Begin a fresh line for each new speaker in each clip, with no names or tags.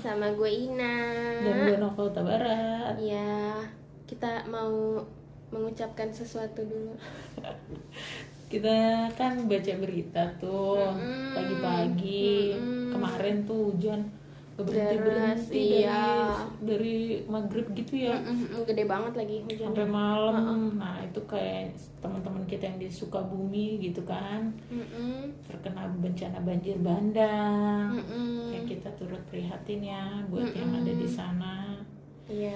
sama gue Ina.
dan gue Novel Tabarat
Ya, kita mau mengucapkan sesuatu dulu.
kita kan baca berita tuh
Mm-mm.
pagi-pagi
Mm-mm.
kemarin tuh hujan gak berhenti
Deras,
berhenti
iya.
dari dari maghrib gitu ya
Mm-mm, Gede banget lagi hujan.
sampai malam nah itu kayak teman-teman kita yang di Sukabumi gitu kan
Mm-mm,
terkena bencana banjir bandang
mm-mm.
ya kita turut prihatin ya buat yang ada di sana
Iya.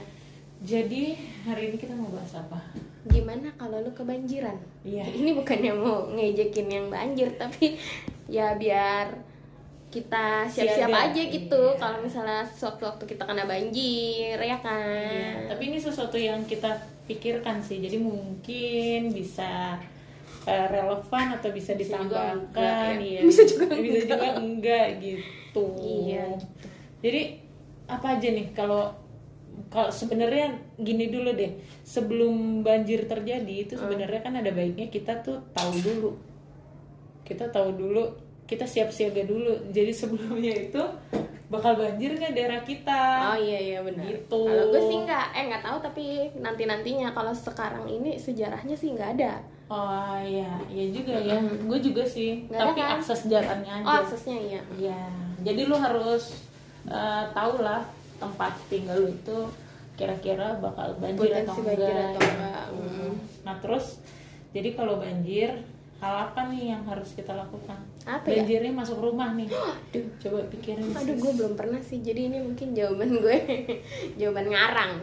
jadi hari ini kita mau bahas apa
Gimana kalau lu kebanjiran?
iya
Ini bukannya mau ngejekin yang banjir, tapi ya biar kita siap-siap
Siaga,
aja gitu.
iya.
Kalau misalnya sewaktu-waktu kita kena banjir, ya kan?
Iya, tapi ini sesuatu yang kita pikirkan sih, jadi mungkin bisa eh, relevan atau bisa
Bisa juga
ditambahkan,
enggak, ya.
iya.
Bisa juga
bisa
enggak.
juga enggak gitu.
Iya,
Jadi apa aja nih kalau kalau sebenarnya gini dulu deh, sebelum banjir terjadi
Ah.
itu sebenarnya kan ada baiknya kita tuh tahu dulu, kita tahu dulu, kita siap siaga dulu. Jadi sebelumnya itu bakal banjir nggak daerah kita?
Oh iya iya benar.
Gitu.
Kalau gue sih nggak, eh nggak tahu tapi nanti nantinya kalau sekarang ini sejarahnya sih nggak ada.
Oh iya, iya juga ya. Gue juga sih,
Nggak ada
tapi
kan?
akses jalannya
Oh
aja.
aksesnya iya.
Iya. Jadi lu harus eh, tahu lah tempat tinggal lu itu kira-kira bakal banjir atau
Potensi
enggak.
banjir atau enggak,
gitu.
mm.
Nah, terus jadi kalau banjir hal apa nih yang harus kita lakukan?
Apa ya?
Banjirnya masuk rumah nih. Coba pikirin.
Aduh gue belum pernah sih. Jadi ini mungkin jawaban gue jawaban ngarang.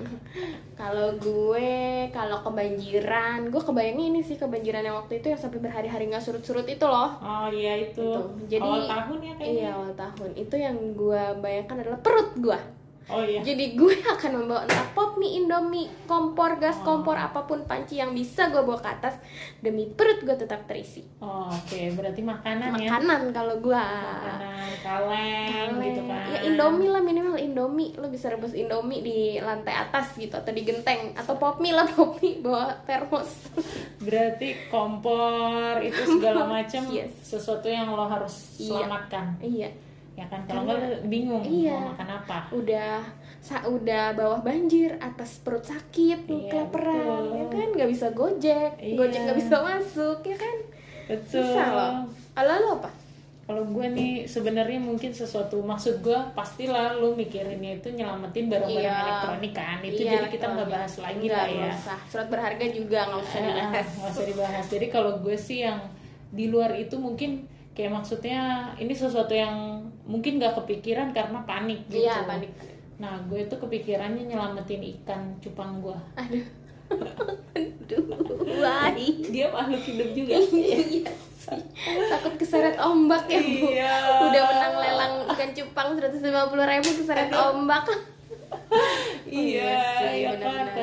Kalau gue kalau kebanjiran, gue kebayangnya ini sih kebanjiran yang waktu itu yang sampai berhari-hari nggak surut-surut itu loh.
Oh iya itu.
Itu. Jadi-
awal tahun ya kayaknya.
Iya awal tahun itu yang gue bayangkan adalah perut gue.
Oh iya.
Jadi gue akan membawa entah pop mie, indomie, kompor, gas
Oh.
kompor, apapun panci yang bisa gue bawa ke atas demi perut gue tetap terisi.
Oh, Oke, berarti makanan, ya.
Makanan kalau gue.
Makanan kaleng,
Kaleng.
gitu kan.
Ya Indomie lah minimal Indomie Lo bisa rebus Indomie di lantai atas gitu Atau di genteng Atau pop mie lah pop mie Bawa termos
berarti kompor itu segala macam
Yes.
sesuatu yang lo harus
Iya.
selamatkan
Iya
ya kan kalau nggak lo bingung
Iya.
mau makan apa
Udah sa udah bawah banjir Atas perut sakit
Iya,
Kelaperan
betul.
Ya kan Gak bisa gojek
Iya.
Gojek gak bisa masuk Ya kan
betul
Susah loh Kalau lo apa?
kalau gue nih sebenarnya mungkin sesuatu maksud gue pastilah lo mikirinnya itu nyelamatin barang-barang
Iya.
elektronik kan itu
Iya,
jadi kita nggak
elektronik.
bahas lagi
Nggak,
lah ya Iya.
nggak usah. Surat berharga juga nggak usah dibahas.
nggak usah dibahas jadi kalau gue sih yang di luar itu mungkin kayak maksudnya ini sesuatu yang mungkin nggak kepikiran karena panik gitu
Iya, panik.
nah gue itu kepikirannya nyelamatin ikan cupang gue
Aduh. Aduh. Wai.
dia makhluk hidup juga
Iya sih. Takut keseret ombak ya, Bu.
Iya.
Udah menang lelang ikan cupang 150 ribu keseret ombak. Iya
iya
sih,
iya kan
benar-benar.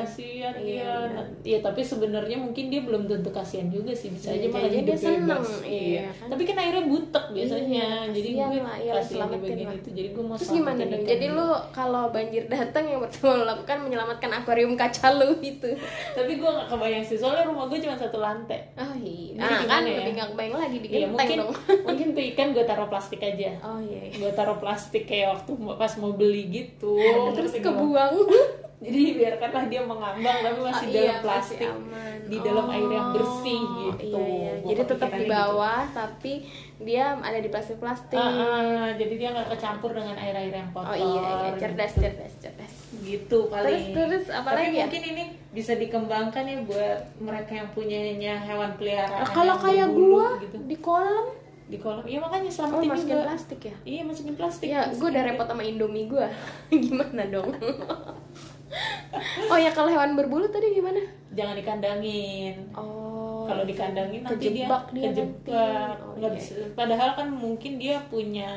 Iya,
kasihan iya iya tapi sebenarnya mungkin dia belum tentu kasihan juga sih bisa aja
Iya,
malah
jadi
hidup
dia seneng,
bebas.
iya kan.
tapi kan akhirnya butek biasanya
Iya,
jadi
kasihan
gue
lah, iya,
kasihan di
selamatin
bagian
lah.
itu jadi gue mau
Terus
selamatin
gimana dong?
ikan
Jadi
gue.
lu kalau banjir datang yang pertama lo lakukan menyelamatkan akuarium kaca lu itu.
tapi gue gak kebayang sih soalnya rumah gue cuma satu lantai
Oh iya.
Jadi
Nah, kan
gimana ya?
lebih nggak kebayang lagi di
Iya,
genteng
mungkin
dong.
mungkin tuh ikan gue taruh plastik aja
Oh iya. iya.
gue taruh plastik kayak waktu mau- pas mau beli gitu
Nah, Terus
Ngerti nggak?
kebuang.
jadi biarkanlah dia mengambang tapi
Oh,
masih
iya,
dalam
masih
plastik
aman.
di dalam
Oh,
air yang bersih gitu
Iya, iya.
Gua
Jadi tetap
kepikirannya
di bawah tapi dia ada di plastik-plastik.
gitu. Ah, ah, jadi dia nggak kecampur dengan air air yang kotor
Oh iya, iya. cerdas,
gitu.
cerdas, cerdas.
gitu paling
Terus, terus, apa
tapi
lagi ya?
mungkin ini bisa dikembangkan ya buat mereka yang punyanya hewan peliharaan
Nah, kalau
yang
kayak
berbulu
gua
gitu
di kolam,
di kolam iya makanya
oh
selamatin
masukin
juga
plastik ya?
iya masukin plastik
Ya, gue
Masukin
udah
ke-
repot sama Indomie gue. gimana dong? oh ya kalau hewan berbulu tadi gimana?
jangan dikandangin
Oh.
kalau dikandangin nanti
Kejebak dia
dia kejebak
nanti. Oh,
Nggak
iya.
bisa. padahal kan mungkin dia punya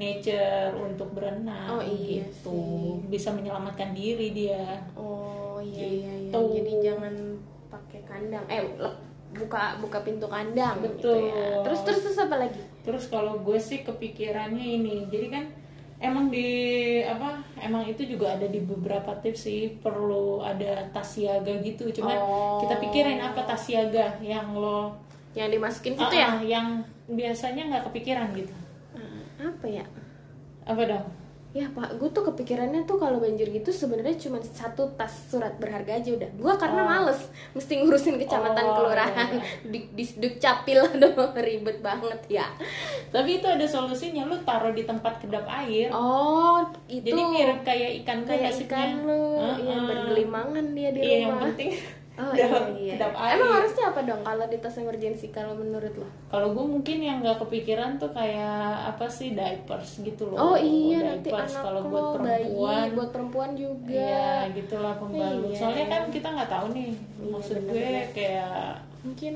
nature untuk berenang
Oh, iya
gitu
sih.
bisa menyelamatkan diri dia
Oh iya iya iya.
Gitu.
Jadi jangan pakai kandang. Eh le- buka buka pintu kandang gitu
Betul.
ya. Terus terus terus apa lagi?
terus kalau gue sih kepikirannya ini jadi kan emang di apa emang itu juga ada di beberapa tips sih perlu ada tas siaga gitu cuman
Oh.
kita pikirin apa tas siaga yang lo
Yang dimasukin situ ya?
Ah, ah, yang biasanya nggak kepikiran gitu
Ah, Apa ya?
apa dong
ya pak gue tuh kepikirannya tuh kalau banjir gitu sebenarnya cuma satu tas surat berharga aja udah gue karena males mesti ngurusin kecamatan
Oh,
kelurahan
iya,
di di dukcapil aduh ribet banget ya
Tapi itu ada solusinya, lu taruh di tempat kedap air.
oh itu
Jadi mirip kayak ikan ya?
kayak ikan lu iya bergelimangan dia di
ah. Iya, yang
rumah
penting
oh iya,
dalam
iya,
kedap
iya.
air.
emang harusnya apa dong kalau di tas emergency kalau menurut lo
Kalau gue mungkin yang nggak kepikiran tuh kayak apa sih diapers gitu loh.
oh iya nanti
Diapers
anak
kalau
lo
buat perempuan.
bayi buat perempuan juga
Iya, gitulah pembalut.
Iya.
Soalnya kan kita nggak tahu nih.
Iya,
Maksud gue
bener-bener.
kayak
mungkin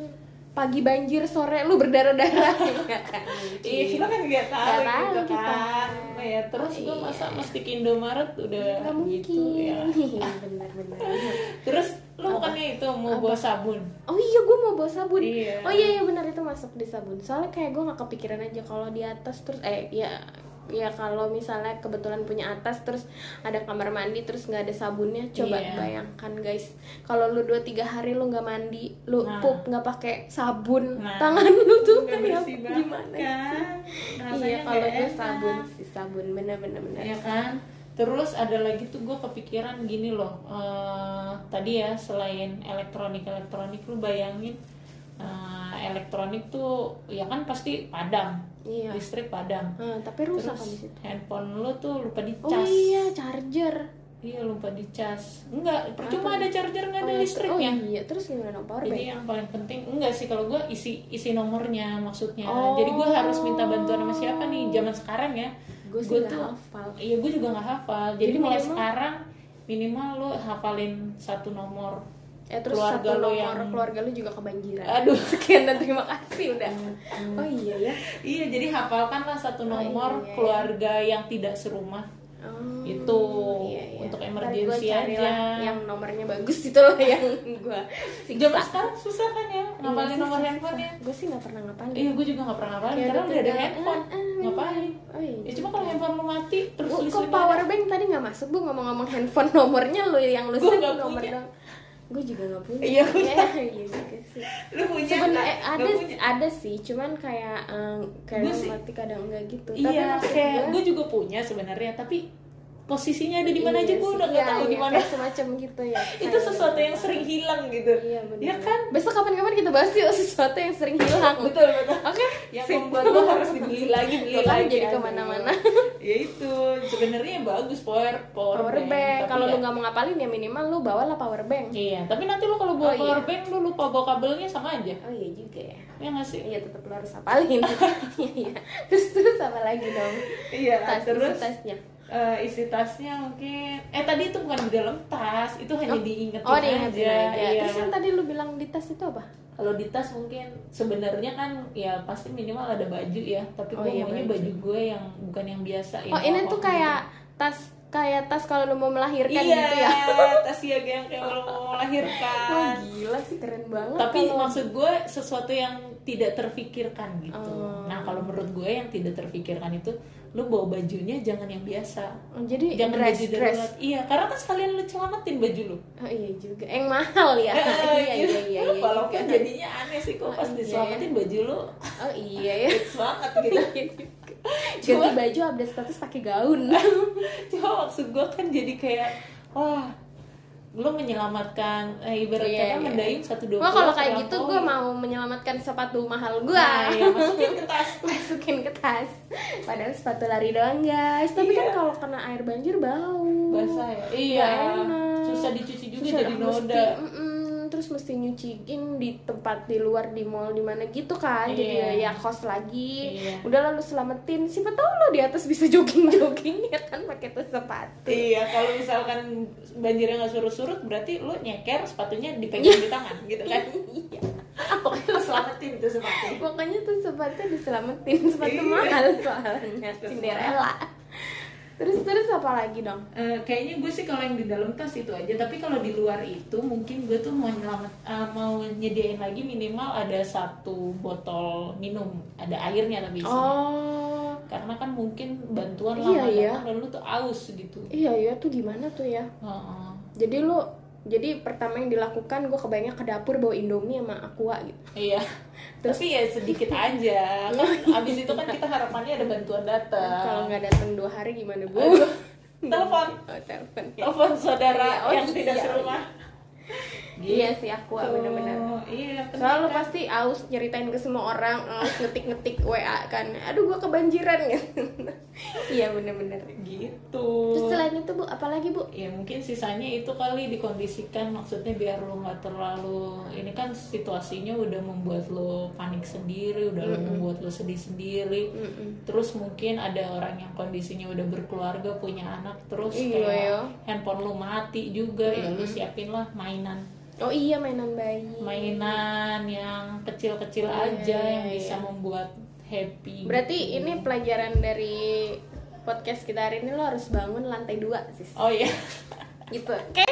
pagi banjir sore lu berdarah darah ya kan
Iya, kita kan nggak tahu
Nggak
gitu
tahu kita. Oh iya.
kan. Ya, terus gue masa mastik Indomaret udah
nggak
gitu ya.
mungkin Iya, benar benar
Terus lu bukannya itu mau bawa sabun?
oh iya gue mau bawa sabun
Iya.
oh iya iya benar itu masuk di sabun soalnya kayak gue nggak kepikiran aja kalau di atas terus eh ya ya kalau misalnya kebetulan punya atas terus ada kamar mandi terus nggak ada sabunnya coba
Iya.
bayangkan guys kalau lu dua tiga hari lu nggak mandi lu
Nah.
pup nggak pakai sabun
Nah.
tangan lu tuh
Nggak
kayak
bersih banget
gimana
kan? Rasanya
iya kalau
nggak
gue
enak.
sabun sih sabun bener bener bener
ya kan terus ada lagi tuh gue kepikiran gini loh eh, tadi ya selain elektronik elektronik lu bayangin eh, elektronik tuh ya kan pasti padam
Iya.
listrik padam
Ah, tapi rusak
terus
habis itu
handphone lu tuh lupa
oh
dicas
iya charger
Iya, lupa dicas enggak percuma ada charger nggak ada
Oh,
listriknya
Oh iya, terus gimana dong power bank?
jadi yang paling penting enggak sih kalau gue isi isi nomornya maksudnya
Oh.
jadi gue harus minta bantuan sama siapa nih zaman sekarang ya
Gue sih
Gua
nggak
tuh-
hafal.
Iya, gue juga nggak hafal. Jadi,
Jadi
mulai
minimal-
sekarang minimal lo hafalin satu nomor.
Eh terus
keluarga
satu
lo
nomor
yang-
keluarga lu juga kebanjiran.
Aduh. Hmm,
sekian dan terima kasih udah. Oh iya ya.
Iya, jadi hafalkanlah satu nomor
iya.
keluarga yang tidak serumah.
Oh, iya,
Itu, untuk
Ntar
emergency
gua carilah
aja.
Yang nomornya bagus itu loh yang gue.
Zaman sekarang Iya, susah kan ya ngapalin nomor handphone ya?
Gue sih nggak pernah ngapalin.
Iya, Eh, gue juga nggak pernah ngapalin
Kayak
karena
udah
udah ada
tinggal,
handphone.
ah, ah,
ngapain?
Oh iya.
Ya cuma kalau handphone lu mati terus
Oh, kok
listriknya
power
ada.
bank tadi nggak masuk bu ngomong-ngomong handphone nomornya lu yang lu
Gua
save
nggak
nomor
punya.
dong. Gue juga nggak punya.
Iya, gua
iya juga sih.
Lu punya
sebenarnya
nggak?
ada
Nggak punya. Iya,
ada sih cuman kayak em, kadang
Gua sih-
mati kadang enggak gitu
Iya,
maksud
kayak
gua-
gue juga punya sebenarnya, tapi posisinya ada di mana
iya
aja gue
sih,
udah
iya,
nggak tahu
iya,
di mana.
kayak semacam gitu ya
Itu sesuatu yang sering hilang gitu.
iya benar
Ya kan?
besok kapan-kapan kita bahas yuk sesuatu yang sering hilang
Betul, betul.
oke
yang
sip.
membuat lo harus dibeli lagi beli
Lo kan
lagi
jadi
aduh.
kemana-mana.
ya itu sebenarnya bagus power power,
power bank
tapi
kalau
ya-
lu nggak mau ngapalin ya minimal lu bawalah power bank
iya tapi nanti lo kalau bawa
Oh, iya.
power bank lo lupa bawa kabelnya sama aja
oh iya juga ya
ya nggak sih
iya tetap lu harus apalin iya iya terus terus apa lagi dong
iya
tas
terus
tasnya
eh, isi tasnya mungkin eh tadi itu bukan di dalam tas itu hanya diingetin
oh
aja,
diingetin aja
Iya.
terus yang tadi lu bilang di tas itu apa
kalau di tas mungkin sebenarnya kan ya pasti minimal ada baju ya tapi
Oh,
gue
iya,
maunya
baju.
baju gue yang bukan yang biasa
Oh
yang
ini tuh
kokoh gitu.
kayak tas kayak tas kalau lu mau melahirkan
iya,
gitu ya.
tas siaga yang kayak lo mau melahirkan.
Wah gila sih keren banget.
Tapi
kalau-
maksud gue sesuatu yang tidak terfikirkan gitu.
Oh.
Nah kalau menurut gue yang tidak terfikirkan itu lo bawa bajunya jangan yang biasa.
Oh, jadi
Jangan
dress
baju
dress.
darurat. Iya, karena kan sekalian lo celamatin baju lo.
Oh iya juga. Yang mahal ya.
Eh,
iya,
gitu.
iya iya iya.
Walaupun
juga.
jadinya aneh sih kok pas
Oh, iya.
diselamatin baju lo
Oh iya ya.
hits banget gitu.
Ganti baju update status pakai gaun.
Cuma maksud gue kan jadi kayak wah lo menyelamatkan eh, ibarat
Iya,
kata
iya.
mendayung satu dua
Wah kalau kayak gitu gue mau menyelamatkan sepatu mahal gue.
Nah, iya, masukin ke tas.
masukin ke tas. Padahal sepatu lari doang guys. Tapi kan kalau kena air banjir bau.
Iya. basah ya iya susah dicuci juga
Susah,
jadi
mesti-
noda
mm-mm, terus mesti nyuciin di tempat di luar di mall di mana gitu kan jadi ya
Iya.
kos lagi
Iya.
udah lalu selamatin siapa tahu lo di atas bisa jogging jogging ya kan pakai tas sepatu
iya kalau misalkan banjirnya nggak surut-surut berarti lu nyeker sepatunya dipegang di tangan gitu kan
Iya.
pokoknya lu selamatin tuh sepatu
pokoknya tuh sepatu diselamatin sepatu
Iya.
mahal soalnya
Terus
Cinderella terus terus apa lagi dong
Eh, kayaknya gue sih kalau yang di dalam tas itu aja tapi kalau di luar itu mungkin gue tuh mau nyelamat eh, mau nyediain lagi minimal ada satu botol minum ada airnya tapi isinya.
oh
karena kan mungkin bantuan
Iya,
lama
iya.
datang dan lu tuh aus gitu
iya iya tuh gimana tuh ya
Heeh.
jadi lo jadi pertama yang dilakukan gue kebayangnya ke dapur bawa indomie sama aqua gitu
Iya. Tapi ya sedikit aja. Kan abis itu kan kita harapannya ada bantuan
kalau
datang.
nggak datang dua hari gimana bu
Aduh, telepon.
oh, telepon
Telepon
Iya,
saudara
oh
yang
iya,
tidak
iya.
serumah.
iya sih aqua benar-benar
Oh, Iya,
Selalu pasti aus nyeritain ke semua orang, aus ngetik-ngetik WA kan. Aduh gua kebanjiran gitu. Iya bener-bener.
gitu.
Terus selain itu bu, apalagi bu?
ya mungkin sisanya itu kali dikondisikan maksudnya biar lo nggak terlalu ini kan situasinya udah membuat lo panik sendiri udah lo membuat lo sedih sendiri
Mm-mm.
terus mungkin ada orang yang kondisinya udah berkeluarga punya anak terus
Iya,
kayak
iya.
handphone lo mati juga ya lo siapin lah mainan
Oh iya mainan bayi.
mainan yang kecil-kecil aja yang bisa membuat happy
Iya, Berarti ini pelajaran dari podcast kita hari ini lo harus bangun lantai dua sis.
oh iya
Gitu. Oke.